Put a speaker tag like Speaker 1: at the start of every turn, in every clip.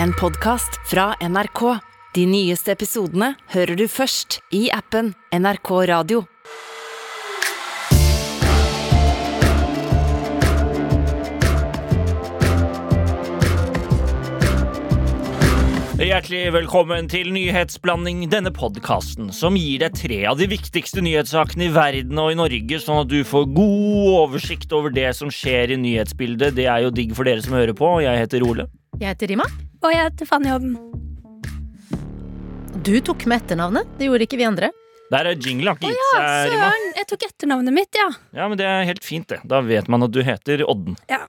Speaker 1: En podcast fra NRK. De nyeste episodene hører du først i appen NRK Radio.
Speaker 2: Hjertelig velkommen til Nyhetsblanding, denne podkasten som gir deg tre av de viktigste nyhetssakene i verden og i Norge, sånn at du får god oversikt over det som skjer i nyhetsbildet. Det er jo digg for dere som hører på. Jeg heter Ole.
Speaker 3: Jeg heter Rima.
Speaker 4: Og jeg heter Fanny Odden.
Speaker 3: Du tok med etternavnet. Det gjorde ikke vi andre.
Speaker 2: Der er jinglen har ikke gitt seg, Rima.
Speaker 4: Søren, jeg tok etternavnet mitt, ja.
Speaker 2: Ja, men det er helt fint, det. Da vet man at du heter Odden.
Speaker 4: Ja.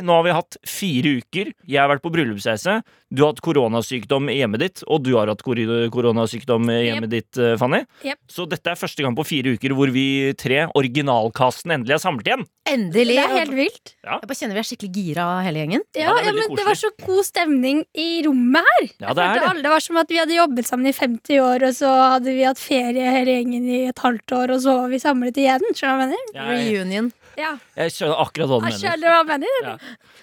Speaker 2: Nå har vi hatt fire uker. Jeg har vært på bryllupsreise. Du har hatt koronasykdom i hjemmet ditt, og du har hatt kor- koronasykdom i hjemmet ditt, eh, Fanny.
Speaker 4: Jep.
Speaker 2: Så dette er første gang på fire uker hvor vi tre, originalkasten, endelig er samlet igjen.
Speaker 3: Endelig!
Speaker 4: Det er helt vilt.
Speaker 3: Jeg bare kjenner vi er skikkelig gira hele gjengen.
Speaker 2: Ja,
Speaker 4: Ja,
Speaker 2: det er
Speaker 4: ja,
Speaker 2: veldig
Speaker 4: men det var så god stemning i rommet her.
Speaker 2: Ja, det er
Speaker 4: Følte
Speaker 2: det.
Speaker 4: alle- det var som at vi hadde jobbet sammen i 50 år, og så hadde vi hatt ferie hele gjengen i et halvt år, og så var vi samlet igjen. Skjønner du hva jeg mener?
Speaker 2: Jeg,
Speaker 3: Reunion.
Speaker 4: Ja.
Speaker 2: jeg skjønner akkurat hva
Speaker 4: Jeg
Speaker 2: du Sånn mener.
Speaker 4: skjønner hva jeg mener.
Speaker 2: Ja.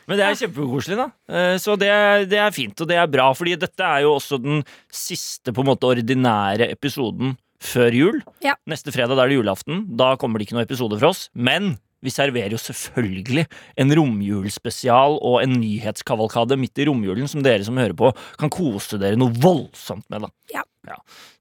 Speaker 2: Men det er kjempekoselig, da. Eh, Så det, det er fint, og det er bra, fordi dette er jo også den siste på en måte ordinære episoden før jul.
Speaker 4: Ja.
Speaker 2: Neste fredag da er det julaften. Da kommer det ikke noen episode fra oss. Men vi serverer jo selvfølgelig en romjulsspesial og en nyhetskavalkade midt i romjulen som dere som hører på, kan kose dere noe voldsomt med. da.
Speaker 4: Ja.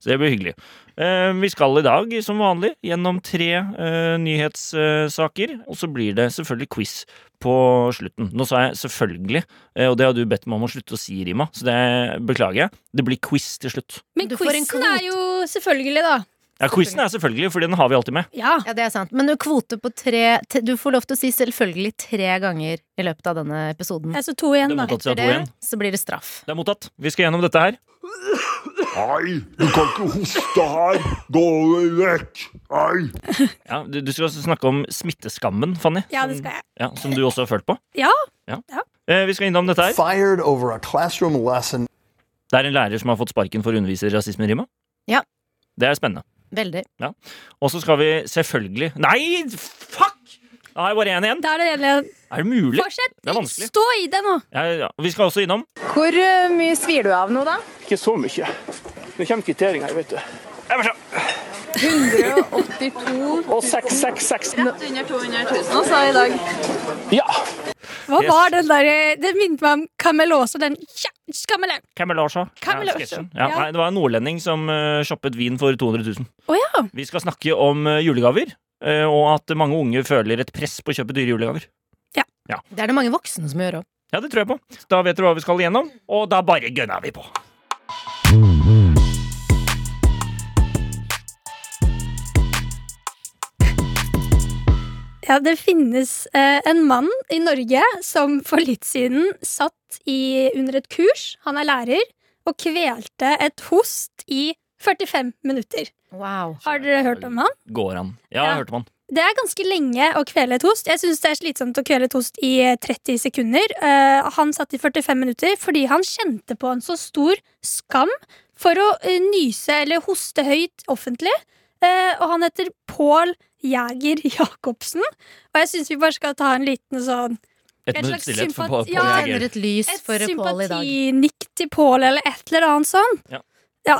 Speaker 2: Så det blir hyggelig. Eh, vi skal i dag, som vanlig, gjennom tre eh, nyhetssaker. og så blir det selvfølgelig quiz på slutten. Nå sa jeg selvfølgelig, eh, og det har du bedt meg om å slutte å si, Rima, så det beklager jeg. Det blir quiz til slutt.
Speaker 4: Men
Speaker 3: Du får en
Speaker 4: quizen
Speaker 3: kvot.
Speaker 4: er jo selvfølgelig, da.
Speaker 2: Ja, quizen er selvfølgelig, for den har vi alltid med.
Speaker 4: Ja.
Speaker 3: Ja, det er sant. Men kvote på tre t- Du får lov til å si selvfølgelig tre ganger i løpet av denne episoden.
Speaker 4: Jeg så to igjen,
Speaker 2: Det er
Speaker 4: da.
Speaker 2: mottatt, så jeg
Speaker 3: Etter
Speaker 2: har to igjen.
Speaker 3: det så blir det straff.
Speaker 2: Det er mottatt. Vi skal gjennom dette her.
Speaker 5: Nei, du kan ikke hoste her. Gå vekk. Nei.
Speaker 2: Ja, du, du skal også snakke om smitteskammen, Fanny.
Speaker 4: Ja, det skal jeg.
Speaker 2: Ja, som du også har følt på.
Speaker 4: Ja.
Speaker 2: Eh, vi skal innom dette her.
Speaker 6: fired over a classroom lesson
Speaker 2: Det er en lærer som har fått sparken for å undervise i rasisme, Rima.
Speaker 3: Ja.
Speaker 2: Det er spennende.
Speaker 3: Veldig.
Speaker 2: Og så skal vi selvfølgelig Nei, fuck! Da er jeg bare én igjen.
Speaker 4: Da er det egentlig
Speaker 2: Er det mulig?
Speaker 4: Fortsett.
Speaker 2: Det er vanskelig.
Speaker 4: Stå i det nå.
Speaker 2: Ja, ja. Vi skal også innom
Speaker 7: Hvor eh, mye svir du av nå, da?
Speaker 8: Ikke så mye. Nå kommer kvitteringa, vet du.
Speaker 7: 82
Speaker 8: Og 666.
Speaker 7: Under 200 000 også i dag.
Speaker 8: Ja.
Speaker 4: Hva
Speaker 2: Yes.
Speaker 4: var den der eh, Det minnet meg om Kamelåse. Den ja, Kamelå.
Speaker 2: Camelasha.
Speaker 4: Camelasha.
Speaker 2: Ja,
Speaker 4: Ja.
Speaker 2: nei, det var en nordlending som eh, shoppet vin for 200 000.
Speaker 4: Å ja.
Speaker 2: Vi skal snakke om eh, julegaver, eh, og at mange unge føler et press på å kjøpe dyre julegaver.
Speaker 3: Det er det mange voksne som gjør òg.
Speaker 2: Ja, det tror jeg på. Da vet dere hva vi skal igjennom, og da bare gønner vi på.
Speaker 4: Ja, det finnes eh, en mann i Norge som for litt siden satt i, under et kurs, han er lærer, og kvelte et host i 45 minutter.
Speaker 3: Wow.
Speaker 4: Har dere hørt om han?
Speaker 2: Går han? Ja,
Speaker 4: Ja.
Speaker 2: hørte man.
Speaker 4: Det er ganske lenge å kvele et host. Jeg syns det er slitsomt å kvele et host i eh, 30 sekunder. Eh, han satt i 45 minutter fordi han kjente på en så stor skam for å eh, nyse eller hoste høyt offentlig. Eh, og han heter Pål Jæger Jacobsen. Og jeg syns vi bare skal ta en liten sånn
Speaker 2: Et
Speaker 4: Et
Speaker 2: minutts
Speaker 4: slags
Speaker 2: stillhet for Pål
Speaker 4: sympati- ja,
Speaker 3: Jeg
Speaker 2: Jæger.
Speaker 3: tenner et lys
Speaker 4: Et
Speaker 3: for Pål i dag.
Speaker 4: sympatinikk til Pål eller et eller annet sånt.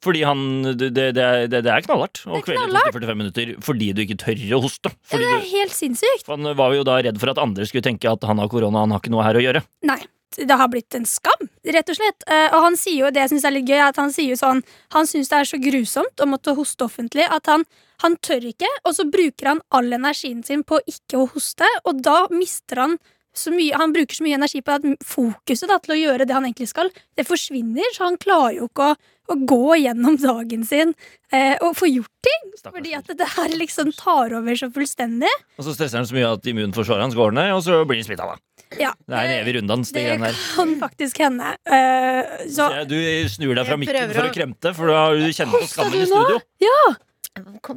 Speaker 2: Fordi han Det, det, det, er- det er knallhardt å
Speaker 4: Det er
Speaker 2: kvele to til 45 minutter fordi du ikke tør å hoste. Fordi
Speaker 4: Det er
Speaker 2: du,
Speaker 4: helt sinnssykt.
Speaker 2: for han var jo da redd for at andre skulle tenke at han har korona, han har ikke noe her å gjøre.
Speaker 4: Nei. Det har blitt en skam, rett og slett. Eh, Og han sier jo det jeg synes er litt gøy, er at han sier jo sånn Han syns det er så grusomt å måtte hoste offentlig at han, han tør ikke, og så bruker han all energien sin på ikke å hoste, og da mister han så mye, han bruker så mye energi på at fokuset da, til å gjøre det han egentlig skal, det forsvinner, så han klarer jo ikke å, å gå gjennom dagen sin eh, og få gjort ting,
Speaker 2: Stakkars
Speaker 4: fordi at det her liksom tar over så fullstendig.
Speaker 2: Og så stresser han så mye at immunforsvaret hans går ned, og så blir han smitta, da.
Speaker 4: Ja, eh,
Speaker 2: Det er en evig runddans, det
Speaker 4: det
Speaker 2: greiene der.
Speaker 4: kan faktisk hende. Eh, så
Speaker 2: Du snur deg fra
Speaker 3: Jeg
Speaker 2: mikken
Speaker 3: prøver
Speaker 2: for
Speaker 3: å-
Speaker 2: å kremte, for da har du kjent på
Speaker 4: Hosta
Speaker 2: skammen
Speaker 4: du
Speaker 2: i
Speaker 4: nå?
Speaker 2: studio.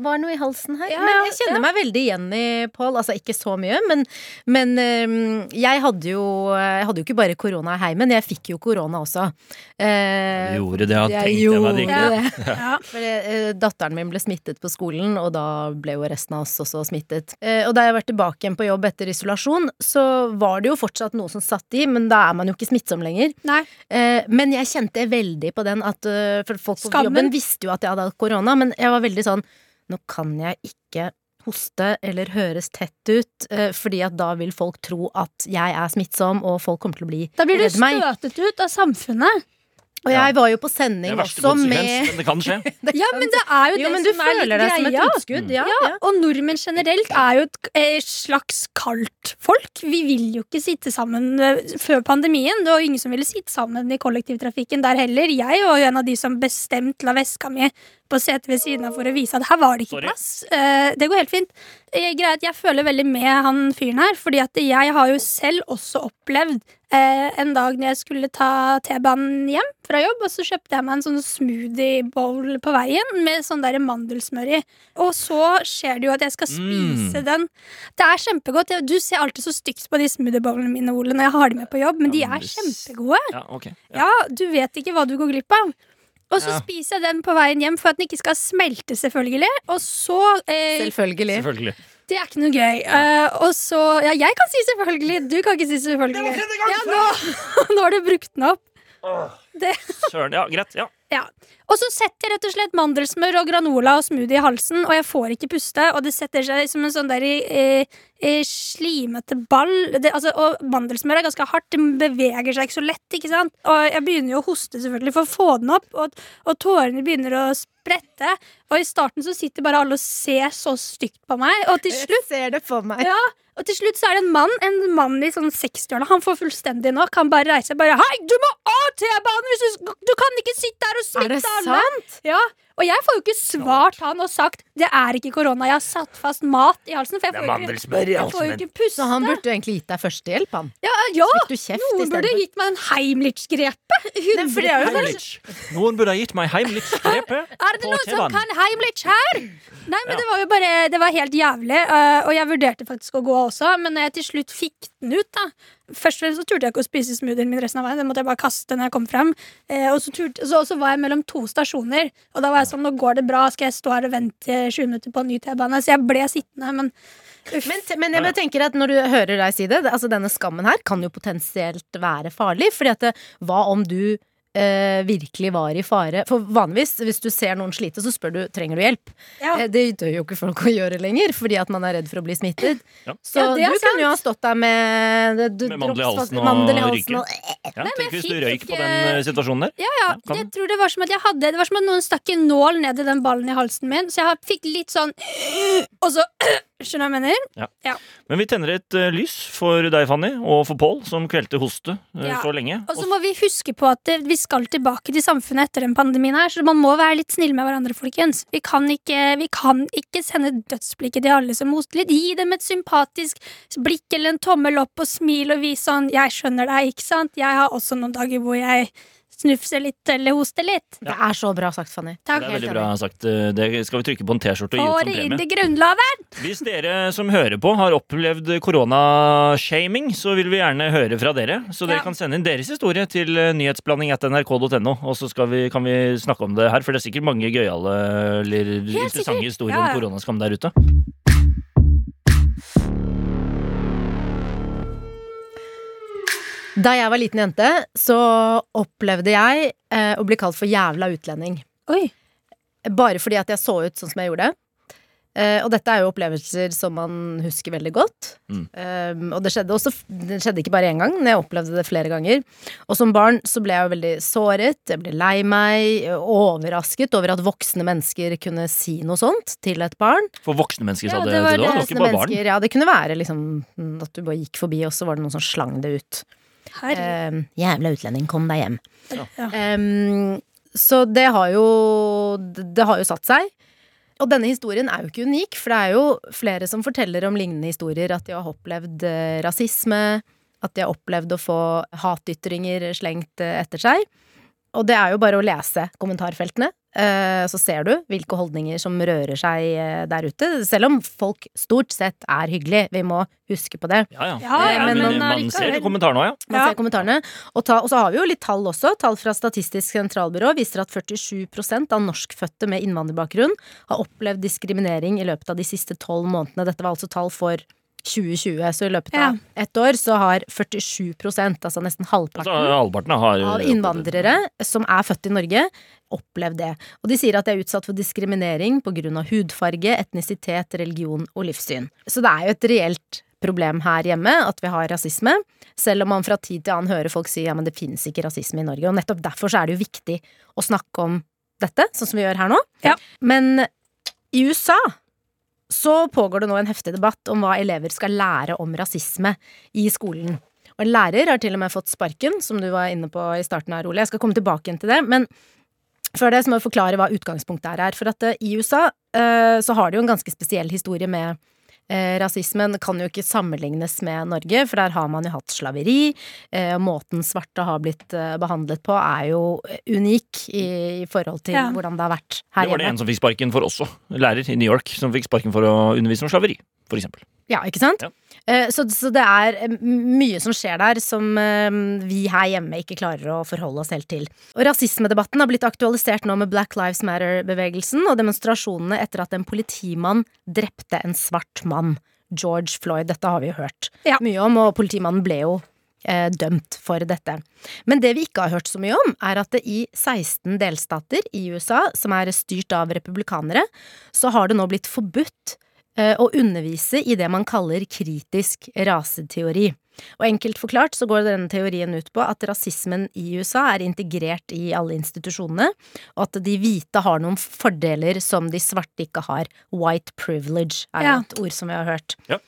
Speaker 3: var noe i halsen her.
Speaker 4: Ja,
Speaker 3: men jeg
Speaker 4: ja.
Speaker 3: kjenner meg veldig igjen i Pål. Altså ikke så mye, men, men øhm, jeg hadde jo Jeg hadde jo ikke bare korona i heimen, jeg fikk jo korona også. Eh,
Speaker 2: Gjorde det, jeg
Speaker 3: jeg
Speaker 2: tenkte meg det ikke.
Speaker 3: gjorde det.
Speaker 4: Ja.
Speaker 3: For det, eh, datteren min ble smittet på skolen, og da ble jo resten av oss også smittet. Eh, og da jeg var tilbake igjen på jobb etter isolasjon, så var det jo fortsatt noe som satt i, men da er man jo ikke smittsom lenger.
Speaker 4: Nei.
Speaker 3: Eh, men jeg kjente veldig på den at eh, For folk på
Speaker 4: Skammen.
Speaker 3: jobben visste jo at jeg hadde hatt korona, men jeg var veldig sånn Nå kan jeg ikke hoste eller høres tett ut, eh, fordi at da vil folk tro at jeg er smittsom, og folk kommer til å bli
Speaker 4: Da blir du
Speaker 3: redd meg.
Speaker 4: støtet ut av samfunnet.
Speaker 3: Og jeg var jo på
Speaker 2: Det
Speaker 3: sending
Speaker 2: er verste
Speaker 3: også
Speaker 2: konsekvens,
Speaker 3: med
Speaker 2: men det kan skje.
Speaker 4: Ja, men det er jo,
Speaker 3: Jo,
Speaker 4: det
Speaker 3: men du
Speaker 4: som er litt
Speaker 3: føler deg som et
Speaker 4: greia.
Speaker 3: utskudd. Ja,
Speaker 4: Ja,
Speaker 3: ja.
Speaker 4: og nordmenn generelt er jo et eh, slags kaldt folk. Vi vil jo ikke sitte sammen eh, før pandemien. Det var jo ingen som ville sitte sammen i kollektivtrafikken der heller. Jeg var jo en av de som bestemt la veska mi på setet ved siden av for å vise at her var det ikke
Speaker 2: Sorry.
Speaker 4: plass. Eh, det går helt fint. Eh, greit, jeg føler veldig med han fyren her, fordi at jeg har jo selv også opplevd eh, en dag når jeg skulle ta T-banen hjem fra jobb, og så kjøpte jeg meg en sånn smoothie bowl på veien med sånn der mandelsmør i. Og så skjer det jo at jeg skal spise
Speaker 2: Mm.
Speaker 4: den. Det er kjempegodt. Jeg- Du ser alltid så stygt på de smoothiebowlene mine, Ole, når jeg har de med på jobb, men de
Speaker 2: Ja, men
Speaker 4: er
Speaker 2: det-
Speaker 4: kjempegode.
Speaker 2: Ja, ok. Ja.
Speaker 4: Ja, du vet ikke hva du går glipp av. Og så
Speaker 2: Ja.
Speaker 4: spiser jeg den på veien hjem for at den ikke skal smelte, selvfølgelig. Og så eh,
Speaker 3: Selvfølgelig.
Speaker 2: Selvfølgelig.
Speaker 4: Det er ikke noe gøy. Eh, og så Ja, jeg kan si selvfølgelig. Du kan ikke si selvfølgelig. Ja, nå, nå har du brukt den opp.
Speaker 2: Søren. Ja, greit. Ja.
Speaker 4: Ja. Og så setter jeg rett og slett mandelsmør og granola og smoothie i halsen, og jeg får ikke puste, og det setter seg som en sånn der eh, eh, slimete ball. Det, altså, og mandelsmør er ganske hardt, det beveger seg ikke så lett, ikke sant? Og jeg begynner jo å hoste selvfølgelig for å få den opp, og, og tårene begynner å sprette, og i starten så sitter bare alle og ser så stygt på meg, og til slutt
Speaker 3: Jeg ser det for meg.
Speaker 4: Ja, og til slutt så er det en mann En mann i sånn 60-årene. Han får fullstendig nok. Han bare reiser seg bare Hei, du må av T-banen! hvis Du, sk- du kan ikke sitte her og
Speaker 3: Er det
Speaker 4: smitte alle!
Speaker 3: sant?
Speaker 4: Ja, Og jeg får jo ikke svart han og sagt det er ikke korona. Jeg har satt fast mat i halsen. For jeg får, jo ikke,
Speaker 2: mandelsmør i
Speaker 4: jeg får jo ikke puste.
Speaker 3: Så han burde jo egentlig gitt deg førstehjelp, han.
Speaker 4: Ja, ja,
Speaker 3: Fikk du kjeft
Speaker 4: noen burde
Speaker 3: istedenfor?
Speaker 4: gitt meg en Heimlich-grepe.
Speaker 3: Nei, for det er jo
Speaker 4: Hundre
Speaker 2: Heimlich. Noen burde ha gitt meg Heimlich-grepet
Speaker 4: Er det
Speaker 2: på
Speaker 4: noen som
Speaker 2: T-banen.
Speaker 4: kan Heimlich her? Nei,
Speaker 2: Ja.
Speaker 4: men det var jo bare Det var helt jævlig. øh, og jeg vurderte faktisk å gå også, men når jeg til slutt fikk den ut, da Først og fremst så turte jeg ikke å spise smoothien min resten av veien. Den måtte jeg bare kaste når jeg kom frem. Eh, og så, turte, så, og så var jeg mellom to stasjoner, og da var jeg sånn Nå går det bra, skal jeg stå her og vente 20 minutter på en ny T-bane? Så jeg ble sittende, men uff.
Speaker 3: Men, te- men jeg bare tenker at når du hører deg si det, det- altså denne skammen her kan jo potensielt være farlig. Fordi at det, hva om du eh, virkelig var i fare? For vanligvis, hvis du ser noen slite, så spør du trenger du hjelp.
Speaker 4: ja.
Speaker 3: Eh, Det dør jo ikke folk å gjøre lenger, fordi at man er redd for å bli smittet.
Speaker 2: Ja.
Speaker 3: Så
Speaker 4: Ja, det er
Speaker 3: du
Speaker 4: sant.
Speaker 3: kunne jo ha stått der med, du-
Speaker 2: Med mandel i
Speaker 3: drops-
Speaker 2: halsen og
Speaker 3: mandel i halsen
Speaker 2: ryker.
Speaker 3: og-
Speaker 2: Ja,
Speaker 4: men jeg
Speaker 2: tenk hvis du
Speaker 4: fikk
Speaker 2: røyk på
Speaker 4: ikke-
Speaker 2: den eh, situasjonen der.
Speaker 4: Ja, ja.
Speaker 2: kan
Speaker 4: Jeg tror det var som at jeg hadde Det var som at noen stakk en nål ned i den ballen i halsen min, så jeg har- fikk litt sånn Og så Skjønner du hva jeg mener?
Speaker 2: Men vi tenner et eh, lys for deg, Fanny, og for Pål, som kvelte hoste eh,
Speaker 4: Ja.
Speaker 2: så lenge.
Speaker 4: Og så Altså, må vi huske på at det- vi skal tilbake til samfunnet etter den pandemien her, så man må være litt snille med hverandre, folkens. Vi kan ikke, vi kan ikke sende dødsblikket til alle som hoster litt. Gi dem et sympatisk blikk eller en tommel opp og smil og vis sånn 'Jeg skjønner deg, ikke sant?' Jeg har også noen dager hvor jeg snufser litt eller hoster litt.
Speaker 3: Det er så bra sagt, Fanny.
Speaker 2: det
Speaker 4: Takk.
Speaker 2: er veldig bra sagt. Eh, Det skal vi trykke på en T-skårte og
Speaker 4: Håret
Speaker 2: gi ut som
Speaker 4: inn
Speaker 2: premie.
Speaker 4: i grunnlaget!
Speaker 2: Hvis dere som hører på har opplevd koronashaming, så vil vi gjerne høre fra dere. Så dere
Speaker 4: Ja.
Speaker 2: kan sende inn deres historie til eh, nyhetsblanding.nrk.no, og så skal vi, kan vi snakke om det her, for det er sikkert mange gøyale eller interessante
Speaker 4: sikkert.
Speaker 2: historier
Speaker 4: Ja, ja.
Speaker 2: om koronaskam der ute.
Speaker 3: Da jeg var liten jente, så opplevde jeg eh, å bli kalt for jævla utlending.
Speaker 4: Oi.
Speaker 3: Bare fordi at jeg så ut sånn som jeg gjorde. Eh, og dette er jo opplevelser som man husker veldig godt.
Speaker 2: Mm.
Speaker 3: Eh, og det skjedde, også, det skjedde ikke bare én gang, men jeg opplevde det flere ganger. Og som barn så ble jeg jo veldig såret, jeg ble lei meg, overrasket over at voksne mennesker kunne si noe sånt til et barn.
Speaker 2: For voksne mennesker, sa
Speaker 4: Ja,
Speaker 2: det,
Speaker 4: det
Speaker 2: til deg.
Speaker 4: var
Speaker 2: Det var
Speaker 3: Voksne
Speaker 2: ikke bare barn.
Speaker 3: mennesker, Ja, det kunne være liksom mm, at du bare gikk forbi, og så var det noen som slang det ut.
Speaker 4: Herregud.
Speaker 3: Eh, jævla utlending, kom deg hjem.
Speaker 4: Ja.
Speaker 3: Eh, så det har jo Det har jo satt seg. Og denne historien er jo ikke unik, for det er jo flere som forteller om lignende historier. At de har opplevd eh, rasisme, at de har opplevd å få hatytringer slengt eh, etter seg. Og det er jo bare å lese kommentarfeltene. eh, så ser du hvilke holdninger som rører seg eh, der ute. Selv om folk stort sett er hyggelige. Vi må huske på det.
Speaker 2: Ja, ja.
Speaker 4: Ja,
Speaker 3: ja,
Speaker 2: men,
Speaker 3: men
Speaker 2: eh, man
Speaker 4: allikevel.
Speaker 2: ser det i kommentaren òg, ja.
Speaker 3: Man
Speaker 4: Ja.
Speaker 3: ser kommentarene. Og, ta, og så har vi jo litt tall også. Tall fra Statistisk sentralbyrå viser at 47 av norskfødte med innvandrerbakgrunn har opplevd diskriminering i løpet av de siste tolv månedene. Dette var altså tall for 2020, så i løpet av ett år så har 47 altså nesten halvparten
Speaker 2: Altså, Halvparten har
Speaker 3: av innvandrere som er født i Norge, opplevd det. Og de sier at de er utsatt for diskriminering pga. hudfarge, etnisitet, religion og livssyn. Så det er jo et reelt problem her hjemme at vi har rasisme, selv om man fra tid til annen hører folk si ja, men det finnes ikke rasisme i Norge. Og nettopp derfor så er det jo viktig å snakke om dette, sånn som vi gjør her nå.
Speaker 4: Ja.
Speaker 3: Men i USA så pågår det nå en heftig debatt om hva elever skal lære om rasisme i skolen. Og en lærer har til og med fått sparken, som du var inne på i starten her, Ole. Jeg skal komme tilbake igjen til det. Men før det så må jeg forklare hva utgangspunktet her er. For at eh, i USA eh, så har de jo en ganske spesiell historie med eh, Rasismen kan jo ikke sammenlignes med Norge, for der har man jo hatt slaveri. eh, og Måten svarte har blitt eh, behandlet på, er jo unik i, i forhold til
Speaker 4: Ja.
Speaker 3: hvordan det har vært
Speaker 2: Det
Speaker 3: her
Speaker 2: var det
Speaker 3: hjemme.
Speaker 2: en som fikk sparken for også. Lærer i New York som fikk sparken for å undervise om slaveri, for eksempel.
Speaker 3: Ja, ikke sant?
Speaker 2: Ja.
Speaker 3: Eh, Så, så det er eh, mye som skjer der som eh, vi her hjemme ikke klarer å forholde oss helt til. Og Rasismedebatten har blitt aktualisert nå med Black Lives Matter-bevegelsen og demonstrasjonene etter at en politimann drepte en svart mann. George Floyd, dette har vi jo hørt
Speaker 4: Ja.
Speaker 3: mye om, og politimannen ble jo eh, dømt for dette. Men det vi ikke har hørt så mye om, er at det i 16 delstater i USA, som er styrt av republikanere, så har det nå blitt forbudt eh, å undervise i det man kaller kritisk raseteori. Og enkelt forklart så går denne teorien ut på at rasismen i USA er integrert i alle institusjonene, og at de hvite har noen fordeler som de svarte ikke har. White privilege er
Speaker 4: Ja.
Speaker 3: et ord som vi har hørt.
Speaker 2: Ja.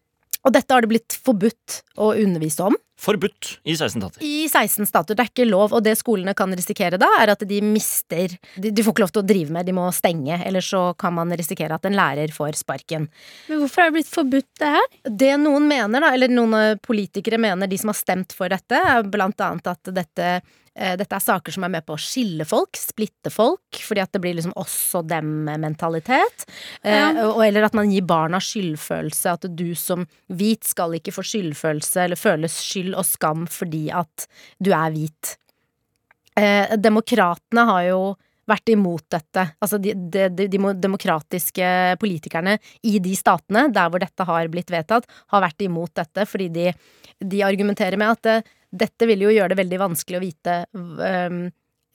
Speaker 3: Og dette har det blitt forbudt å undervise om.
Speaker 2: Forbudt i 16 tatter.
Speaker 3: I 16 stater. Det er ikke lov, og det skolene kan risikere da, er at de mister De, de får ikke lov til å drive med, de må stenge, eller så kan man risikere at en lærer får sparken.
Speaker 4: Men hvorfor er det blitt forbudt, det her?
Speaker 3: Det noen mener, da, eller noen eh, politikere mener, de som har stemt for dette, er blant annet at dette, eh, dette er saker som er med på å skille folk, splitte folk, fordi at det blir liksom oss og dem-mentalitet. Eh,
Speaker 4: Ja.
Speaker 3: og- Eller at man gir barna skyldfølelse, at du som hvit skal ikke få skyldfølelse eller føle skyld og skam fordi at du er hvit. Eh, demokratene har jo vært imot dette. Altså de, de, de, de demokratiske politikerne i de statene der hvor dette har blitt vedtatt, har vært imot dette fordi de, de argumenterer med at eh, dette vil jo gjøre det veldig vanskelig å vite ehm,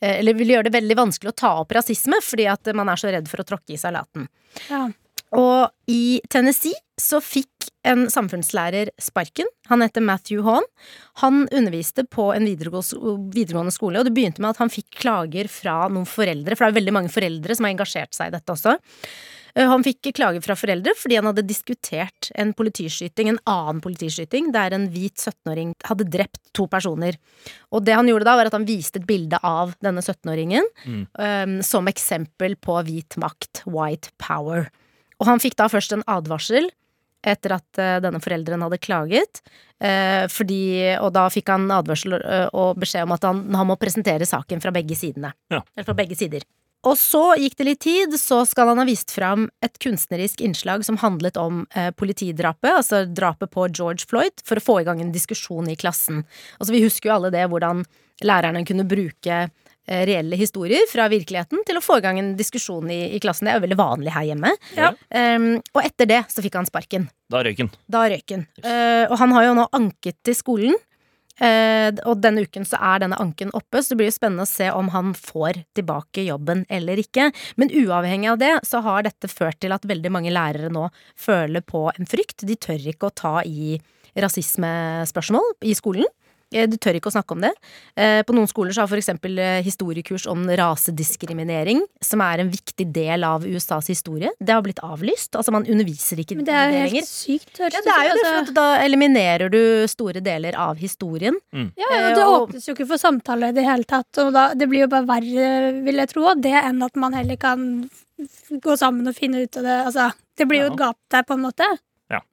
Speaker 3: eh, Eller vil gjøre det veldig vanskelig å ta opp rasisme fordi at eh, man er så redd for å tråkke i salaten.
Speaker 4: Ja.
Speaker 3: Og i Tennessee så fikk en samfunnslærer sparken. Han heter Matthew Hahn. Han underviste på en videregå- videregående skole, og det begynte med at han fikk klager fra noen foreldre, for det er jo veldig mange foreldre som har engasjert seg i dette også. Eh, Han fikk klager fra foreldre fordi han hadde diskutert en politiskyting, en annen politiskyting, der en hvit 17-åring hadde drept to personer. Og det han gjorde da, var at han viste et bilde av denne 17-åringen eh, som eksempel på hvit makt, white power. Og han fikk da først en advarsel etter at eh, denne forelderen hadde klaget. eh, fordi, og da fikk han advarsel eh, og beskjed om at han, han må presentere saken fra begge sidene.
Speaker 2: Ja.
Speaker 3: Eller fra begge sider. Og så gikk det litt tid, så skal han ha vist fram et kunstnerisk innslag som handlet om eh, politidrapet, altså drapet på George Floyd, for å få i gang en diskusjon i klassen. Altså, vi husker jo alle det, hvordan lærerne kunne bruke eh, reelle historier fra virkeligheten til å få i gang en diskusjon i, i klassen. Det er jo veldig vanlig her hjemme.
Speaker 4: Ja.
Speaker 3: Um, og etter det så fikk han sparken.
Speaker 2: Da røyk den.
Speaker 3: Da røyk han. Eh, og han har jo nå anket til skolen. Eh, og denne uken så er denne anken oppe, så det blir jo spennende å se om han får tilbake jobben eller ikke. Men uavhengig av det så har dette ført til at veldig mange lærere nå føler på en frykt. De tør ikke å ta i rasismespørsmål i skolen. Eh, Du tør ikke å snakke om det. Eh, På noen skoler så har f.eks. historiekurs om rasediskriminering, som er en viktig del av USAs historie, det har blitt avlyst. Altså man underviser ikke
Speaker 4: Men det er jo
Speaker 3: lenger.
Speaker 4: helt sykt. høres
Speaker 3: Ja, det er jo
Speaker 4: ut
Speaker 3: det,
Speaker 4: som. altså
Speaker 3: for at da eliminerer du store deler av historien.
Speaker 4: Ja, og det
Speaker 3: Eh, og-
Speaker 4: åpnes jo ikke for samtale i det hele tatt. Og da, det blir jo bare verre, vil jeg tro, av det enn at man heller kan f- gå sammen og finne ut av det. Altså, det blir jo
Speaker 2: Ja.
Speaker 4: et gap der, på en måte.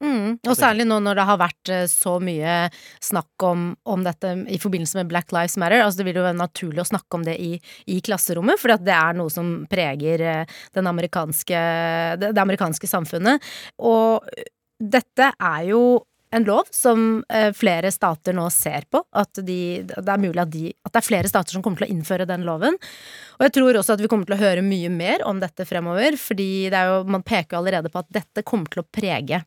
Speaker 3: Mm. Og særlig nå når det har vært eh, så mye snakk om, om dette i forbindelse med Black Lives Matter. Altså det vil jo være naturlig å snakke om det i, i klasserommet, for det er noe som preger eh, den amerikanske, det, det amerikanske samfunnet. Og eh, dette er jo en lov som eh, flere stater nå ser på, at, de, det er mulig at, de, at det er flere stater som kommer til å innføre den loven. Og jeg tror også at vi kommer til å høre mye mer om dette fremover, fordi det er jo, man peker jo allerede på at dette kommer til å prege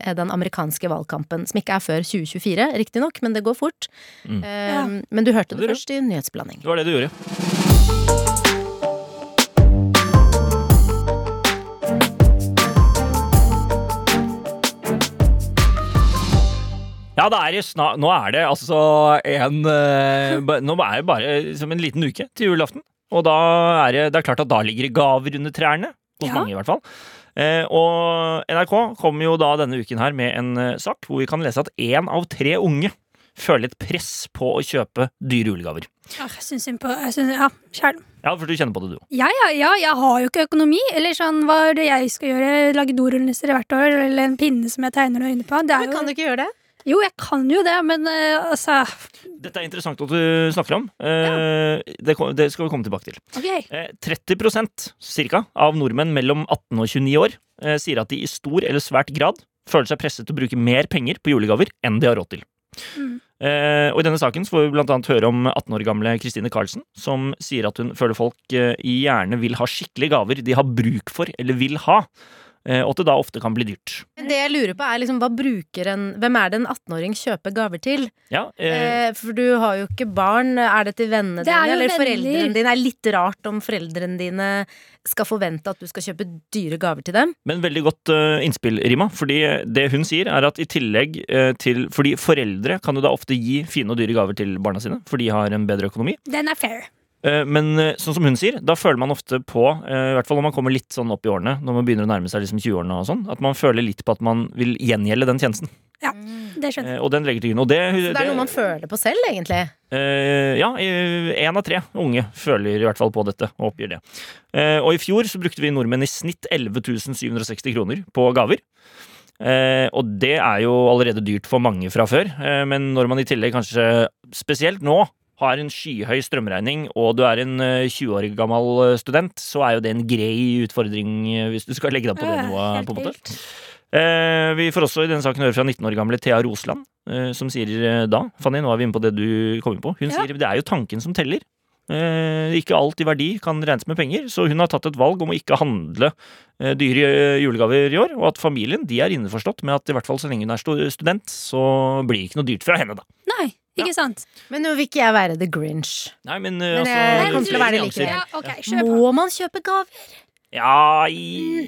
Speaker 3: eh, den amerikanske valgkampen, som ikke er før 2024, riktignok, men det går fort. Eh,
Speaker 4: Ja.
Speaker 3: Men du hørte
Speaker 2: Det
Speaker 3: det
Speaker 2: er
Speaker 3: først i Nyhetsblanding.
Speaker 2: Det var det du gjorde. Ja, det er jo sna- nå er det altså en eh, ba- Nå er det bare som en liten uke til julaften. Og da er det, det er klart at da ligger det gaver under trærne. Hos
Speaker 4: Ja.
Speaker 2: mange, i hvert fall. Eh, og NRK kommer jo da denne uken her med en eh, sak hvor vi kan lese at én av tre unge føler et press på å kjøpe dyre julegaver.
Speaker 4: Ja, jeg syns synd på jeg synes, Ja, sjæl.
Speaker 2: Ja, for du kjenner på det, du òg.
Speaker 4: Ja, ja, ja, jeg har jo ikke økonomi. Eller sånn, hva er det jeg skal gjøre? Lage dorullnisser hvert år? Eller en pinne som jeg tegner noen øyne på? Det er
Speaker 3: Men kan du
Speaker 4: jo,
Speaker 3: ikke gjøre det?
Speaker 4: jo, jeg kan jo det, men eh, altså
Speaker 2: Dette er interessant at du snakker om. Eh, det, kom- det skal vi komme tilbake til.
Speaker 4: Ok.
Speaker 2: Eh, 30 cirka, av nordmenn mellom 18 og 29 år eh, sier at de i stor eller svært grad føler seg presset til å bruke mer penger på julegaver enn de har råd til.
Speaker 4: Mm.
Speaker 2: Eh, og I denne saken så får vi blant annet høre om 18 år gamle Kristine Karlsen, som sier at hun føler folk eh, gjerne vil ha skikkelige gaver de har bruk for eller vil ha, eh, og at det da ofte kan bli dyrt.
Speaker 3: Men det jeg lurer på er liksom, hva bruker en, hvem er det en 18-åring kjøper gaver til?
Speaker 2: Ja, eh,
Speaker 3: Eh, for du har jo ikke barn. Er det til vennene
Speaker 4: Det er
Speaker 3: dine?
Speaker 4: jo
Speaker 3: Eller
Speaker 4: venner.
Speaker 3: foreldrene dine? Det er litt rart om foreldrene dine skal forvente at du skal kjøpe dyre gaver til dem.
Speaker 2: Men veldig godt eh, innspill, Rima. Fordi eh, det hun sier er at i tillegg eh, til Fordi foreldre kan jo da ofte gi fine og dyre gaver til barna sine, for de har en bedre økonomi.
Speaker 4: Den er fair.
Speaker 2: Eh, men eh, sånn som hun sier, da føler man ofte på, eh, i hvert fall når man kommer litt sånn opp i årene, når man begynner å nærme seg liksom 20-årene og sånn, at man føler litt på at man vil gjengjelde den tjenesten.
Speaker 3: Mm.
Speaker 4: Det skjønner jeg.
Speaker 2: Eh, og den legger til grunn. Og det,
Speaker 3: Så det er noe man føler på selv, egentlig.
Speaker 2: Eh, ja, én av tre unge føler i hvert fall på dette og oppgir det. Eh, og i fjor så brukte vi nordmenn i snitt 11 760 kroner på gaver. Eh, og det er jo allerede dyrt for mange fra før, eh, men når man i tillegg kanskje spesielt nå har en skyhøy strømregning, og du er en eh, 20 år gammel eh, student, så er jo det en grei utfordring eh, hvis du skal legge deg på det
Speaker 4: Ja,
Speaker 2: nivået.
Speaker 4: helt
Speaker 2: på en måte.
Speaker 4: vilt.
Speaker 2: Eh, vi får også i denne saken høre fra 19 år gamle Thea Rosland, eh, som sier eh, da Fanny, nå er vi inne på det du kom inn på. Hun
Speaker 4: Ja.
Speaker 2: sier det er jo tanken som teller. Eh, ikke alt i verdi kan regnes med penger, så hun har tatt et valg om å ikke handle eh, dyre eh, julegaver i år, og at familien de er innforstått med at i hvert fall så lenge hun er stu- student, så blir det ikke noe dyrt fra henne, da.
Speaker 3: Eh,
Speaker 4: Nei, ikke sant?
Speaker 3: Men nå vil ikke jeg være the grinch.
Speaker 2: Nei, men, eh,
Speaker 3: Men,
Speaker 2: altså,
Speaker 3: eh, det kommer til å være det
Speaker 2: nyanser.
Speaker 3: likevel.
Speaker 4: Ja, ok, kjør på.
Speaker 3: Må man kjøpe gaver?
Speaker 2: Ja, i...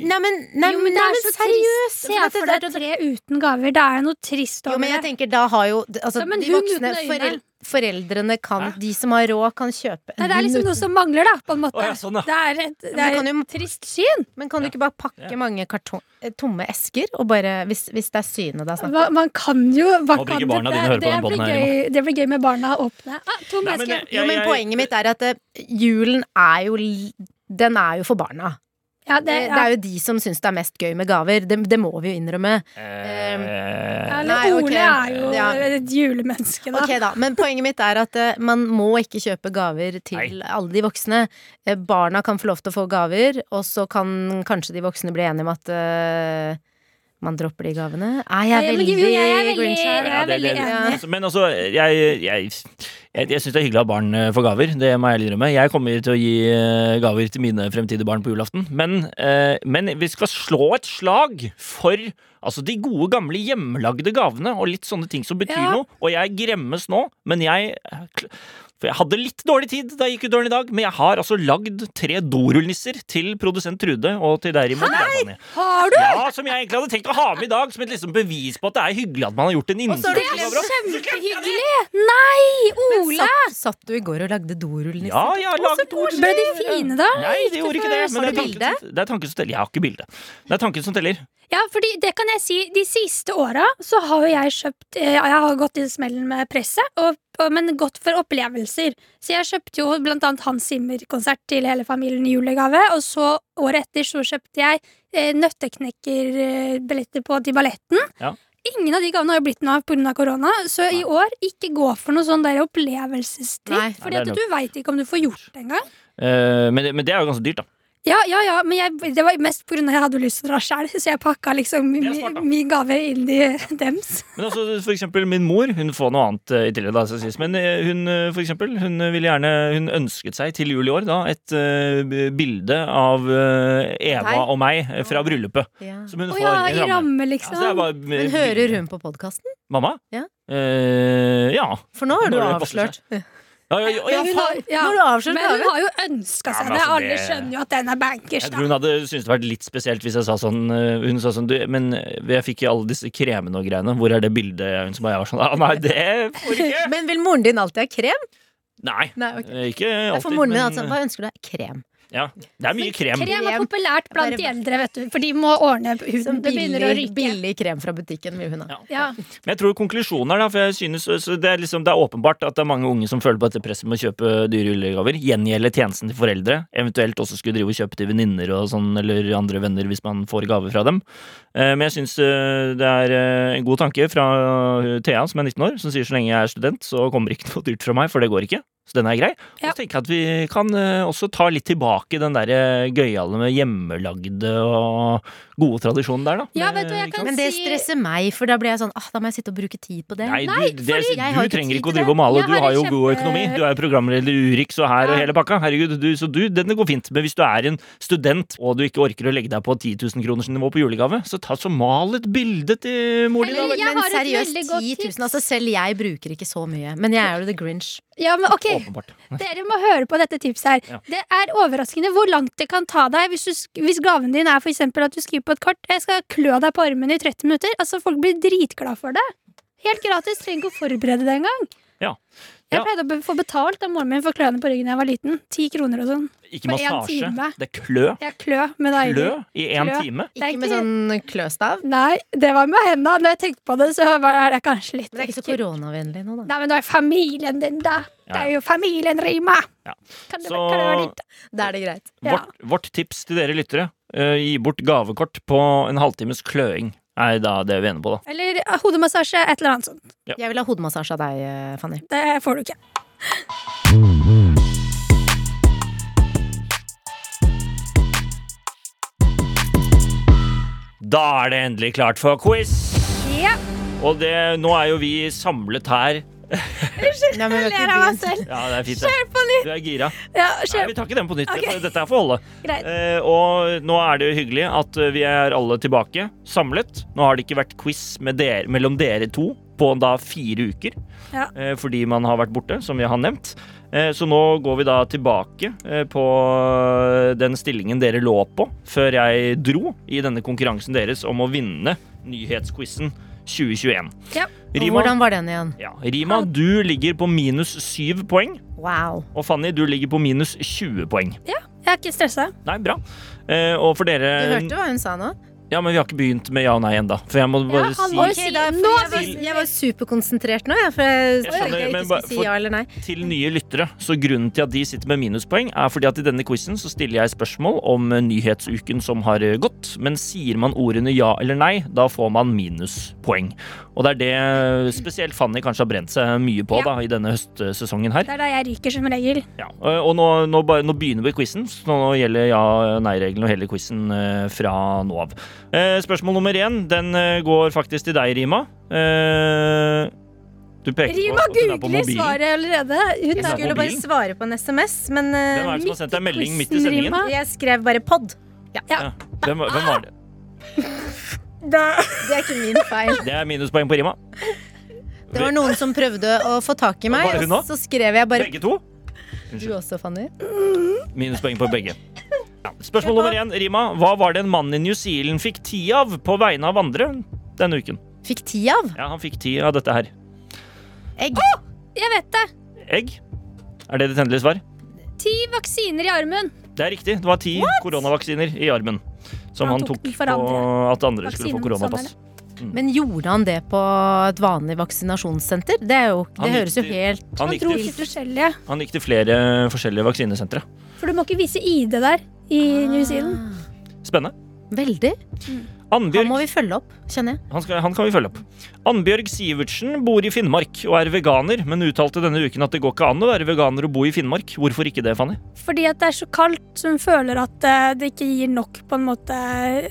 Speaker 3: Nei, men, nei,
Speaker 4: Jo, men det
Speaker 3: nei,
Speaker 4: er
Speaker 3: men
Speaker 4: så
Speaker 3: seriøst!
Speaker 4: trist. Se for deg tre uten gaver. Det er noe trist
Speaker 3: Jo, men
Speaker 4: over
Speaker 3: jeg
Speaker 4: det.
Speaker 3: tenker, da har jo altså,
Speaker 4: Ja, men
Speaker 3: de
Speaker 4: hund
Speaker 3: voksne
Speaker 4: uten øyne.
Speaker 3: forel, Foreldrene kan De som har råd, kan kjøpe
Speaker 4: Nei, det er liksom noe som mangler, da, på en
Speaker 2: Å,
Speaker 4: måte.
Speaker 2: ja, sånn, ja.
Speaker 4: Det er et, det
Speaker 3: men
Speaker 4: er
Speaker 3: kan jo-
Speaker 4: et trist syn.
Speaker 3: Men kan du ikke bare pakke mange karton, eh, tomme esker, og bare, hvis, hvis det er synet det er snakk om?
Speaker 4: Hva, man kan jo hva
Speaker 2: Håper
Speaker 4: kan
Speaker 2: ikke barna
Speaker 4: det-
Speaker 2: dine hører på
Speaker 4: det
Speaker 2: den
Speaker 4: blir
Speaker 2: podden her,
Speaker 4: gøy- Det blir gøy med barna åpne. Ah,
Speaker 2: Nei,
Speaker 4: to
Speaker 2: men
Speaker 4: mennesker.
Speaker 2: jeg-
Speaker 3: Jo, men
Speaker 2: jeg-
Speaker 3: poenget mitt er at eh, julen er jo li- Den er jo for barna.
Speaker 4: Ja, det,
Speaker 3: Det,
Speaker 4: ja.
Speaker 3: det er jo de som syns det er mest gøy med gaver. Det, det må vi jo innrømme.
Speaker 2: Eh,
Speaker 4: Ja,
Speaker 3: Nei,
Speaker 4: Eller
Speaker 3: ok.
Speaker 4: Ole er jo
Speaker 3: Ja.
Speaker 4: et julemenneske, da.
Speaker 3: Ok da, Men poenget mitt er at eh, man må ikke kjøpe gaver til alle de voksne. Eh, barna kan få lov til å få gaver, og så kan kanskje de voksne bli enige om at eh, man dropper de gavene. Er jeg
Speaker 4: Nei, men
Speaker 3: veldig
Speaker 4: jo, jeg er veldig-
Speaker 3: grinch her?
Speaker 4: jeg er
Speaker 2: det-
Speaker 4: veldig
Speaker 2: det-
Speaker 4: enig.
Speaker 2: altså, Men altså, jeg, jeg, jeg, jeg syns det er hyggelig at barn eh, får gaver. Det må jeg ærlig innrømme. Jeg kommer til å gi eh, gaver til mine fremtidige barn på julaften. Men, eh, men vi skal slå et slag for altså, de gode, gamle hjemmelagde gavene og litt sånne ting som betyr
Speaker 4: Ja.
Speaker 2: noe. Og jeg gremmes nå, men jeg eh, kl- for jeg hadde litt dårlig tid da jeg gikk ut døren i dag, men jeg har altså lagd tre dorullnisser til produsent Trude og til deg, Rimon.
Speaker 4: Har du?
Speaker 2: Ja, som jeg egentlig hadde tenkt å ha med i dag, som et liksom bevis på at det er hyggelig at man har gjort en
Speaker 3: Og så
Speaker 2: innsats.
Speaker 3: er det
Speaker 2: Bra, bra.
Speaker 4: Kjempehyggelig! Nei, Ole!
Speaker 3: Satt, satt du i går og lagde dorullnisser?
Speaker 2: Ja, jeg har laget dorullnisser.
Speaker 4: Ble de fine, da?
Speaker 2: Nei, det gjorde ikke det.
Speaker 3: Har
Speaker 2: Men det
Speaker 3: du
Speaker 2: er tanken som, det er tanken som teller. Jeg har ikke bilde. Det er tanken som teller.
Speaker 4: Ja, fordi det kan jeg si. De siste åra så har jo jeg kjøpt eh, Jeg har gått i smellen med presset, og, og, men gått for opplevelser. Så jeg kjøpte jo blant annet Hans Zimmer-konsert til hele familien i julegave. Og så året etter så kjøpte jeg eh, nøtteknekkerbilletter på til balletten.
Speaker 2: Ja.
Speaker 4: Ingen av de gavene har jo blitt noe av pga. korona, så i år ikke gå for noe sånn der
Speaker 3: Nei.
Speaker 4: opplevelsestripp.
Speaker 2: Nei,
Speaker 4: For
Speaker 2: det er
Speaker 4: du veit ikke om du får gjort det engang.
Speaker 2: Eh, men, det- men det er jo ganske dyrt, da.
Speaker 4: Ja, ja, ja, men jeg, det var mest pga. jeg hadde lyst til å dra sjæl, så jeg pakka liksom
Speaker 2: er smart, da.
Speaker 4: min min gave inn i dems.
Speaker 2: Men altså, for eksempel min mor, hun får noe annet eh, i tillegg, da, skal sies. Men eh, hun, eh, for eksempel, hun ville gjerne Hun ønsket seg til jul i år, da, et eh, b- bilde av eh, Eva
Speaker 3: Deg?
Speaker 2: og meg eh, fra bryllupet.
Speaker 3: Ja.
Speaker 2: Som hun
Speaker 4: Å
Speaker 2: får
Speaker 4: ja,
Speaker 2: i
Speaker 4: i
Speaker 2: ramme.
Speaker 4: ramme,
Speaker 2: Ja, så
Speaker 4: liksom.
Speaker 2: Altså, det er bare, eh,
Speaker 3: Men hører hun på podkasten?
Speaker 2: Mamma?
Speaker 3: Ja.
Speaker 2: Eh, ja.
Speaker 3: For nå har
Speaker 2: Nå
Speaker 3: du
Speaker 2: har det passet
Speaker 3: avslørt.
Speaker 2: Ja, ja, ja, ja,
Speaker 4: Men hun
Speaker 2: faen.
Speaker 4: har- ja.
Speaker 3: Nå har du avslørt
Speaker 4: Men hun
Speaker 3: gaven.
Speaker 4: har jo ønska
Speaker 2: Ja,
Speaker 4: seg
Speaker 2: men
Speaker 4: det.
Speaker 2: altså,
Speaker 4: Alle
Speaker 2: det-
Speaker 4: skjønner jo at den er bankers,
Speaker 2: Jeg tror
Speaker 4: da.
Speaker 2: hun hadde syntes det vært litt spesielt hvis jeg sa sånn eh, Hun sa sånn du, Men jeg fikk jo alle disse kremene og greiene. Hvor er det bildet? Hun som bare var sånn ah, Nei, det får du ikke.
Speaker 3: Men vil moren din alltid ha krem?
Speaker 2: Nei.
Speaker 3: Nei, ok.
Speaker 2: eh, Ikke
Speaker 3: Ja,
Speaker 2: alltid.
Speaker 3: For moren min
Speaker 2: men-
Speaker 3: altså, Hva ønsker du deg? Krem.
Speaker 2: Ja, det er mye krem.
Speaker 4: Krem er populært blant
Speaker 3: Bare-
Speaker 4: de eldre, vet du. For de må ordne
Speaker 3: Som
Speaker 4: huden. Det begynner å
Speaker 3: billig,
Speaker 4: ryke.
Speaker 3: billig krem fra butikken vil hun ha.
Speaker 4: Ja.
Speaker 2: Men jeg tror konklusjonen er da, for jeg synes så det, er liksom, det er åpenbart at det er mange unge som føler på dette presset med å kjøpe dyre julegaver. Gjengjelde tjenesten til foreldre. Eventuelt også skulle drive og kjøpe til venninner og sånn, eller andre venner hvis man får gave fra dem. Eh, Men jeg syns det er eh, en god tanke fra eh, Thea, som er 19 år, som sier så lenge jeg er student, så kommer ikke noe dyrt fra meg, for det går ikke. Så den er grei. Og
Speaker 4: Ja.
Speaker 2: så tenker jeg at vi kan eh, også ta litt tilbake den der eh, gøyale med hjemmelagde og gode tradisjonen der, da.
Speaker 4: Ja,
Speaker 2: Med-
Speaker 4: vet du, jeg
Speaker 2: ikke sant?
Speaker 4: kan
Speaker 3: Men det
Speaker 4: si-
Speaker 3: stresser meg, for da blir jeg sånn ah, da må jeg sitte og bruke tid på det.
Speaker 2: Nei,
Speaker 4: Eh, Nei,
Speaker 2: du, det,
Speaker 4: fordi-
Speaker 2: du
Speaker 3: Jeg har ikke
Speaker 2: trenger
Speaker 3: tid
Speaker 2: ikke å
Speaker 3: til
Speaker 2: drive og male.
Speaker 4: Jeg
Speaker 2: Du
Speaker 4: har
Speaker 2: har jo
Speaker 4: en
Speaker 2: god
Speaker 4: kjempe-
Speaker 2: økonomi. Du er programleder i Urix og her og
Speaker 4: Ja.
Speaker 2: hele pakka. Herregud, du, så du, denne går fint. Men hvis du er en student og du ikke orker å legge deg på 10 000 kroners nivå på julegave, så ta så mal et bilde til mor di, da.
Speaker 4: Eller-
Speaker 2: vel.
Speaker 4: Jeg
Speaker 3: Men
Speaker 4: har et
Speaker 3: seriøst,
Speaker 4: veldig
Speaker 3: 10
Speaker 4: godt
Speaker 3: 000.
Speaker 4: tips.
Speaker 3: Altså, selv jeg bruker ikke så mye. Men jeg er jo the grinch.
Speaker 4: ja, men ok.
Speaker 2: Åpenbart.
Speaker 4: Dere må høre på dette tipset her.
Speaker 2: Ja.
Speaker 4: Det er overraskende hvor langt det kan ta deg hvis, du, sk- hvis gaven din er for eksempel at du skriver på et kart 'Jeg skal klø deg på armen i 30 minutter'. Altså, Folk blir dritglade for det. Helt gratis. Trenger ikke å forberede det engang.
Speaker 2: Ja.
Speaker 4: Jeg
Speaker 2: Ja.
Speaker 4: pleide å be- få betalt av moren min for kløene på ryggen da jeg var liten. Ti kroner og sånn.
Speaker 2: Ikke
Speaker 4: For en
Speaker 2: massasje.
Speaker 4: time.
Speaker 2: Det er klø.
Speaker 4: Jeg klø med deg.
Speaker 2: Klø i én
Speaker 4: Klø.
Speaker 2: time.
Speaker 4: Det er
Speaker 3: Ikke med
Speaker 4: ikke-
Speaker 3: sånn kløstav.
Speaker 4: Nei, det var med henda. Når jeg tenkte på det, så var- er det kanskje litt
Speaker 3: Men det er ikke så
Speaker 4: ekkelt.
Speaker 3: koronavennlig nå, da.
Speaker 4: Nei, men det er familien din, da. Det er jo familien, Rima.
Speaker 2: Ja.
Speaker 4: Kan det,
Speaker 2: Så-
Speaker 4: kan det være ditt?
Speaker 3: Da er det greit.
Speaker 4: Ja.
Speaker 2: Vårt, vårt tips til dere lyttere, eh, gi bort gavekort på en halvtimes kløing. Er da det vi er enige på, da.
Speaker 4: Eller eh, hodemassasje, et eller annet sånt.
Speaker 3: Jeg vil ha hodemassasje av deg, eh, Fanny.
Speaker 4: Det får du ikke.
Speaker 2: Da er det endelig klart for quiz!
Speaker 4: Ja,
Speaker 2: Og det, nå er jo vi samlet her.
Speaker 3: Nei, men vi
Speaker 4: jeg
Speaker 3: har
Speaker 4: ler
Speaker 3: ikke
Speaker 4: av meg
Speaker 3: begynt.
Speaker 4: selv.
Speaker 2: Ja, det er fint. det.
Speaker 4: Kjør på nytt!
Speaker 2: Du er gira.
Speaker 4: Ja,
Speaker 2: Nei,
Speaker 4: kjør.
Speaker 2: vi tar ikke den på nytt.
Speaker 4: Ok.
Speaker 2: Dette- Dette er for alle.
Speaker 4: Greit.
Speaker 2: Eh, og nå er det jo hyggelig at eh, vi er alle tilbake, samlet. Nå har det ikke vært quiz med dere, mellom dere to på da fire uker.
Speaker 4: Ja.
Speaker 2: Eh, fordi man har vært borte, som vi har nevnt. Eh, så nå går vi da tilbake eh, på eh, den stillingen dere lå på før jeg dro i denne konkurransen deres om å vinne nyhetsquizen 2021.
Speaker 4: Ja.
Speaker 3: Og
Speaker 2: Rima,
Speaker 3: Hvordan var den igjen?
Speaker 2: ja, Rima, du ligger på minus syv poeng.
Speaker 3: Wow.
Speaker 2: Og Fanny, du ligger på minus 20 poeng.
Speaker 4: Jeg er ikke stressa.
Speaker 2: Nei, bra. Eh, og for dere
Speaker 3: Du hørte hva hun sa nå?
Speaker 2: Ja, men vi har ikke begynt med ja og nei enda For jeg må bare
Speaker 4: han
Speaker 2: si
Speaker 4: må jo si-
Speaker 3: da, for
Speaker 4: nå
Speaker 3: jeg, var,
Speaker 4: vil-
Speaker 3: jeg var superkonsentrert nå, jeg, for jeg,
Speaker 2: Jeg
Speaker 3: tenkte
Speaker 2: skjønner,
Speaker 3: jeg
Speaker 2: men
Speaker 3: ikke
Speaker 2: bare
Speaker 3: skulle si
Speaker 2: for-
Speaker 3: ja eller nei.
Speaker 2: til nye lyttere. Så grunnen til at de sitter med minuspoeng, er fordi at i denne quizen så stiller jeg spørsmål om eh, nyhetsuken som har eh, gått. Men sier man ordene ja eller nei, da får man minuspoeng. Og det er det eh, spesielt Fanny kanskje har brent seg mye på da i denne høstsesongen her.
Speaker 4: Det er da jeg ryker, som regel.
Speaker 2: Ja, og nå, nå, bare, nå begynner vi quizen, så nå gjelder ja-nei-regelen og hele quizen eh, fra nå av. Eh, spørsmål nummer én den eh, går faktisk til deg, Rima. Eh, du peker på
Speaker 4: Rima
Speaker 2: at hun er på
Speaker 4: googler
Speaker 2: mobilen.
Speaker 4: svaret allerede. Hun
Speaker 2: er
Speaker 3: Jeg
Speaker 4: er
Speaker 2: på
Speaker 3: skulle bare
Speaker 2: mobilen.
Speaker 3: svare på en SMS, men eh,
Speaker 2: Hvem er det som har sendt deg en melding midt i
Speaker 4: quizen,
Speaker 2: sendingen?
Speaker 4: Rima.
Speaker 3: jeg skrev bare pod.
Speaker 2: Ja, Hvem, hvem var det?
Speaker 3: Det er ikke min feil.
Speaker 2: Det er minuspoeng på Rima.
Speaker 3: Det var noen som prøvde å få tak i
Speaker 2: Var
Speaker 3: meg,
Speaker 2: det hun
Speaker 3: og
Speaker 2: også?
Speaker 3: så skrev jeg bare
Speaker 2: Begge to?
Speaker 3: du også, Fanny.
Speaker 2: Minuspoeng på begge. Ja. Spørsmål nummer én, Rima. Hå var det en mann i New Zealand fikk ti av på vegne av andre denne uken?
Speaker 3: Fikk ti av Ah!
Speaker 2: Ja, han fikk ti av dette her.
Speaker 3: egg.
Speaker 4: Jeg vet det.
Speaker 2: Egg? Er det ditt endelige svar?
Speaker 4: Ti vaksiner i armen.
Speaker 2: Det er riktig. Det var ti koronavaksiner i armen som han, tok,
Speaker 4: den
Speaker 2: på
Speaker 4: for andre.
Speaker 2: at andre skulle få
Speaker 4: Vaksinen,
Speaker 2: koronapass.
Speaker 3: Men gjorde han det på et vanlig vaksinasjonssenter? Det, er jo, det
Speaker 2: Han gikk
Speaker 3: høres jo
Speaker 2: til-
Speaker 3: helt
Speaker 2: Han
Speaker 4: Han
Speaker 2: gikk,
Speaker 4: dro
Speaker 2: til,
Speaker 4: til forskjellige,
Speaker 2: han gikk til flere forskjellige vaksinesentre.
Speaker 4: for du må ikke vise ID der i New
Speaker 3: Ah.
Speaker 4: Zealand.
Speaker 2: Spennende.
Speaker 3: Veldig. Han
Speaker 2: Annbjørg
Speaker 3: må vi følge opp, kjenner jeg.
Speaker 2: Han, skal, han kan vi følge opp. Annbjørg Sivertsen bor i Finnmark og er veganer, men uttalte denne uken at det går ikke an å være veganer og bo i Finnmark. Hvorfor ikke det, Fanny?
Speaker 4: Fordi at det er så kaldt, så hun føler at eh, det ikke gir nok på en måte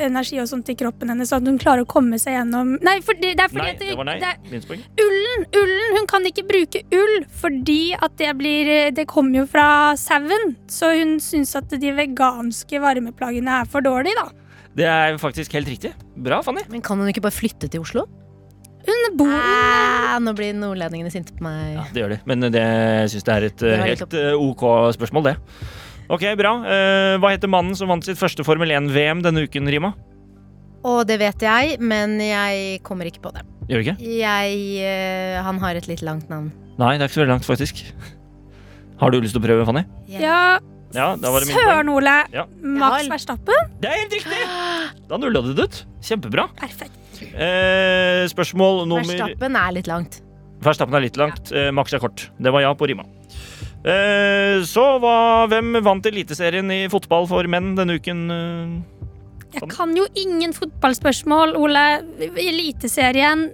Speaker 4: energi og sånt til kroppen hennes, sånn at hun klarer å komme seg gjennom Nei, for det, det er fordi
Speaker 2: Nei,
Speaker 4: at
Speaker 2: det var nei.
Speaker 4: det er
Speaker 2: Minst poeng.
Speaker 4: Ullen, ullen, hun kan ikke bruke ull fordi at det blir Det kommer jo fra sauen, så hun syns at de veganske varmeplagene er for dårlige, da.
Speaker 2: Det er faktisk helt riktig. Bra, Fanny.
Speaker 3: Men kan hun ikke bare flytte til Oslo?
Speaker 4: Hun bor
Speaker 3: Ah,
Speaker 4: Ah,
Speaker 3: Æ, nå blir nordlendingene sinte på meg.
Speaker 2: Ja, det gjør de. Men det syns jeg er et
Speaker 3: Det var
Speaker 2: eh,
Speaker 3: litt
Speaker 2: helt eh, OK spørsmål, det. Ok, bra. Eh, hva heter mannen som vant sitt første Formel 1-VM denne uken, Rima?
Speaker 3: Og det vet jeg, men jeg kommer ikke på det.
Speaker 2: Gjør du ikke?
Speaker 3: Jeg eh, Han har et litt langt navn.
Speaker 2: Nei, det er ikke så veldig langt, faktisk. Har du lyst til å prøve, Fanny?
Speaker 4: Ja,
Speaker 2: Ja, da var det min poeng.
Speaker 4: søren, Ole.
Speaker 2: Ja.
Speaker 4: Max
Speaker 3: Javel.
Speaker 4: Verstappen.
Speaker 2: Det er helt riktig! Da nulla du det ut. Kjempebra.
Speaker 4: Perfekt.
Speaker 2: Eh, spørsmål nummer
Speaker 3: Verstappen er litt langt.
Speaker 2: Verstappen er litt langt, eh, Max er kort. Det var ja på rima. Eh, så hva, hvem vant Eliteserien i fotball for menn denne uken? eh?
Speaker 4: Jeg kan jo ingen fotballspørsmål, Ole. Eliteserien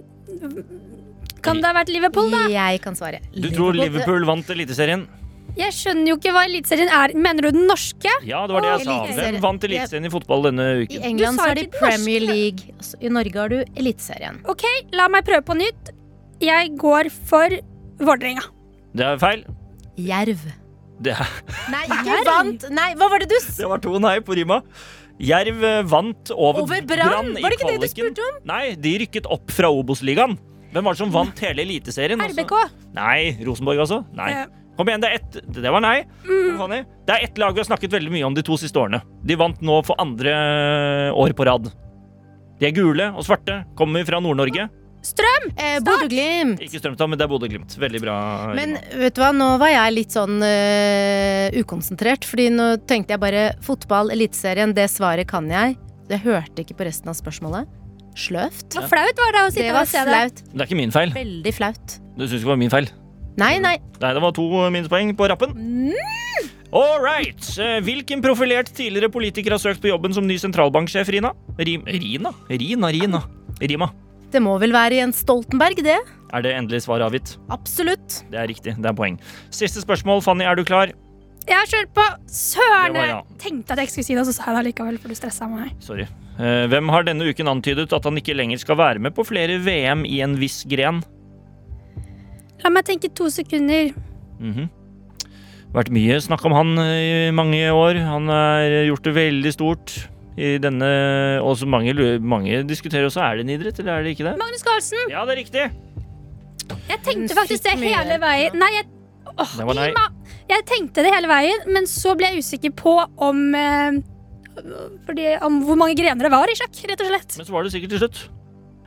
Speaker 4: Kan det ha vært Liverpool, da?
Speaker 3: Jeg kan svare.
Speaker 2: Du tror Liverpool vant Eliteserien?
Speaker 4: Jeg skjønner jo ikke hva Eliteserien er. Mener du den norske?
Speaker 2: Ja, det var det jeg sa.
Speaker 3: Eliteserien.
Speaker 2: Hvem vant Eliteserien i fotball denne
Speaker 3: I
Speaker 2: uken?
Speaker 3: England
Speaker 4: Du sa
Speaker 3: så er det
Speaker 4: ikke den
Speaker 3: Premier
Speaker 4: norske.
Speaker 3: League. Altså, I Norge har du Eliteserien.
Speaker 4: OK, la meg prøve på nytt. Jeg går for Vålerenga.
Speaker 2: Det er feil.
Speaker 3: Jerv.
Speaker 2: Det, er,
Speaker 3: Nei, ikke vant! Nei, hva var det du s...
Speaker 2: det var to nei på rima. Jerv eh, vant over,
Speaker 3: Over Brann?
Speaker 2: i
Speaker 3: Var det ikke det du
Speaker 2: kvaliken.
Speaker 3: spurte om?
Speaker 2: Nei, de rykket opp fra Obos-ligaen. Hvem var det som vant hele Eliteserien? Altså-
Speaker 4: RBK.
Speaker 2: Nei. Rosenborg, altså? Nei.
Speaker 4: Eh.
Speaker 2: Kom igjen, det er ett Det var nei. Fanny. Det er ett lag vi har snakket veldig mye om de to siste årene. De vant nå for andre eh, år på rad. De er gule og svarte, kommer fra Nord-Norge.
Speaker 4: Strøm!
Speaker 3: Eh, Bodø-Glimt.
Speaker 2: Ikke Strømstad, men det er Bodø-Glimt. Veldig bra.
Speaker 3: Men
Speaker 2: Rima.
Speaker 3: vet du hva, nå var jeg litt sånn eh, ukonsentrert, fordi nå tenkte jeg bare fotball, Eliteserien, det svaret kan jeg. Jeg hørte ikke på resten av spørsmålet. Sløvt.
Speaker 4: Så flaut var det å
Speaker 3: Det
Speaker 4: sitte og
Speaker 3: var
Speaker 4: se det.
Speaker 3: flaut.
Speaker 2: det er ikke min feil.
Speaker 3: Veldig flaut.
Speaker 2: Du syns ikke det var min feil?
Speaker 3: Nei, nei.
Speaker 2: Nei, det var to minuspoeng på rappen. All right. Eh, Hvilken profilert tidligere politiker har søkt på jobben som ny sentralbanksjef, Rina? Rim... Rina? Rina, Rina. Rima.
Speaker 3: Det må vel være Jens Stoltenberg, det?
Speaker 2: Er det endelig svar avgitt?
Speaker 3: Absolutt.
Speaker 2: Det er riktig. Det er poeng. Siste spørsmål. Fanny, er du klar?
Speaker 4: Jeg har kjørt på
Speaker 2: Det
Speaker 4: Søren!
Speaker 2: var
Speaker 4: Jeg
Speaker 2: ja.
Speaker 4: tenkte at jeg ikke skulle si det, og så sa jeg det likevel, for du stressa meg.
Speaker 2: Sorry. Eh, Hvem har denne uken antydet at han ikke lenger skal være med på flere VM i en viss gren?
Speaker 4: La meg tenke to sekunder.
Speaker 2: Mhm. Vært mye snakk om han eh, i mange år. Han har gjort det veldig stort i denne Og så mange, lu- mange diskuterer også er det en idrett, eller er det ikke det?
Speaker 4: Magnus Carlsen!
Speaker 2: Ja, det er riktig!
Speaker 4: Jeg tenkte
Speaker 3: Hun
Speaker 4: faktisk det
Speaker 3: fikk mye
Speaker 4: hele
Speaker 3: hjelp,
Speaker 4: veien. Nei, jeg Åh,
Speaker 2: Det var nei.
Speaker 4: Ima! Jeg tenkte det hele veien, men så ble jeg usikker på om eh, fordi, om hvor mange grener det var i sjakk, rett og slett.
Speaker 2: Men så var det sikkert til slutt.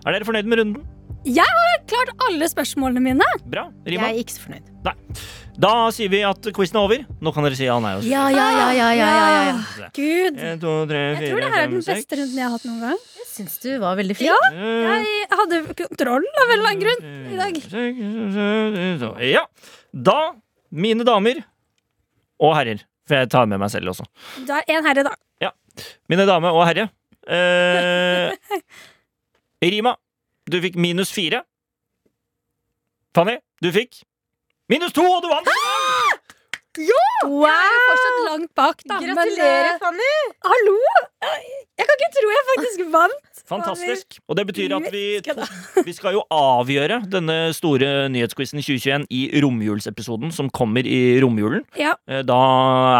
Speaker 2: Er dere fornøyd med runden?
Speaker 4: Jeg har klart alle spørsmålene mine.
Speaker 2: Bra.
Speaker 3: Jeg
Speaker 2: Rima?
Speaker 3: er ikke så fornøyd.
Speaker 2: Da sier vi at quizen er over. Nå kan dere si ja, nei og så.
Speaker 3: Ja, ja, ja, ja, ja, ja, ja.
Speaker 4: Ah, Gud.
Speaker 2: En, to, tre,
Speaker 4: Jeg
Speaker 2: Eh,
Speaker 4: tror
Speaker 2: fire,
Speaker 4: det her er
Speaker 2: fem,
Speaker 4: den
Speaker 2: seks.
Speaker 4: beste runden jeg har hatt noen gang.
Speaker 3: Jeg syns du var veldig flink.
Speaker 4: Ja.
Speaker 2: Eh,
Speaker 4: Jeg hadde kontroll av en eller annen grunn i dag.
Speaker 2: Ja. Da, mine damer og herrer, for jeg tar med meg selv også.
Speaker 4: Det er en herre, da.
Speaker 2: Mine damer og herre. Eh, Rima, du fikk minus fire. Fanny, du fikk minus to, og du vant!
Speaker 4: Jeg er jo fortsatt langt bak, da. men, eh,
Speaker 3: Fanny.
Speaker 4: hallo! Jeg kan ikke tro jeg faktisk vant.
Speaker 2: Fantastisk. Og det betyr at vi, vi skal jo avgjøre denne store nyhetsquizen i 2021 i romjulsepisoden som kommer i romjulen.
Speaker 4: Ja,
Speaker 2: Eh, Da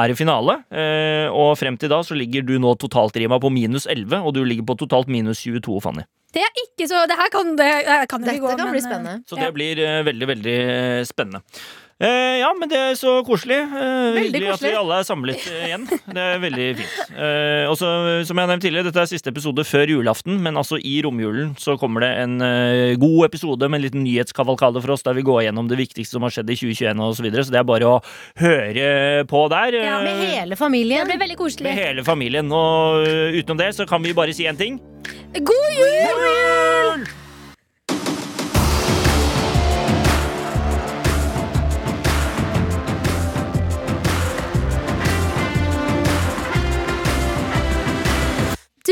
Speaker 2: er det finale, eh, og frem til da så ligger du nå totalt, Rima, på minus 11, og du ligger på totalt minus 22, Fanny.
Speaker 4: det er ikke så Det her kan det, eh, kan det
Speaker 3: Dette
Speaker 4: ikke gå,
Speaker 3: kan
Speaker 4: men,
Speaker 3: bli
Speaker 4: eh,
Speaker 3: spennende.
Speaker 2: Så
Speaker 4: Ja.
Speaker 2: det blir eh, veldig, veldig eh, spennende. Eh, Eh, ja, men det er så koselig. Eh,
Speaker 3: Veldig
Speaker 2: hyggelig at
Speaker 3: koselig.
Speaker 2: vi alle er samlet eh, igjen. Det er veldig fint. Eh, og så, som jeg har nevnt tidligere, dette er siste episode før julaften, men altså i romjulen så kommer det en eh, god episode med en liten nyhetskavalkade for oss, der vi går gjennom det viktigste som har skjedd i 2021 og så videre, så det er bare å høre på der.
Speaker 4: Ja,
Speaker 2: eh,
Speaker 3: Med hele
Speaker 4: Det
Speaker 3: familien.
Speaker 4: blir veldig koselig.
Speaker 2: med hele familien. Og eh, utenom det så kan vi bare si én ting.
Speaker 4: God jul! Du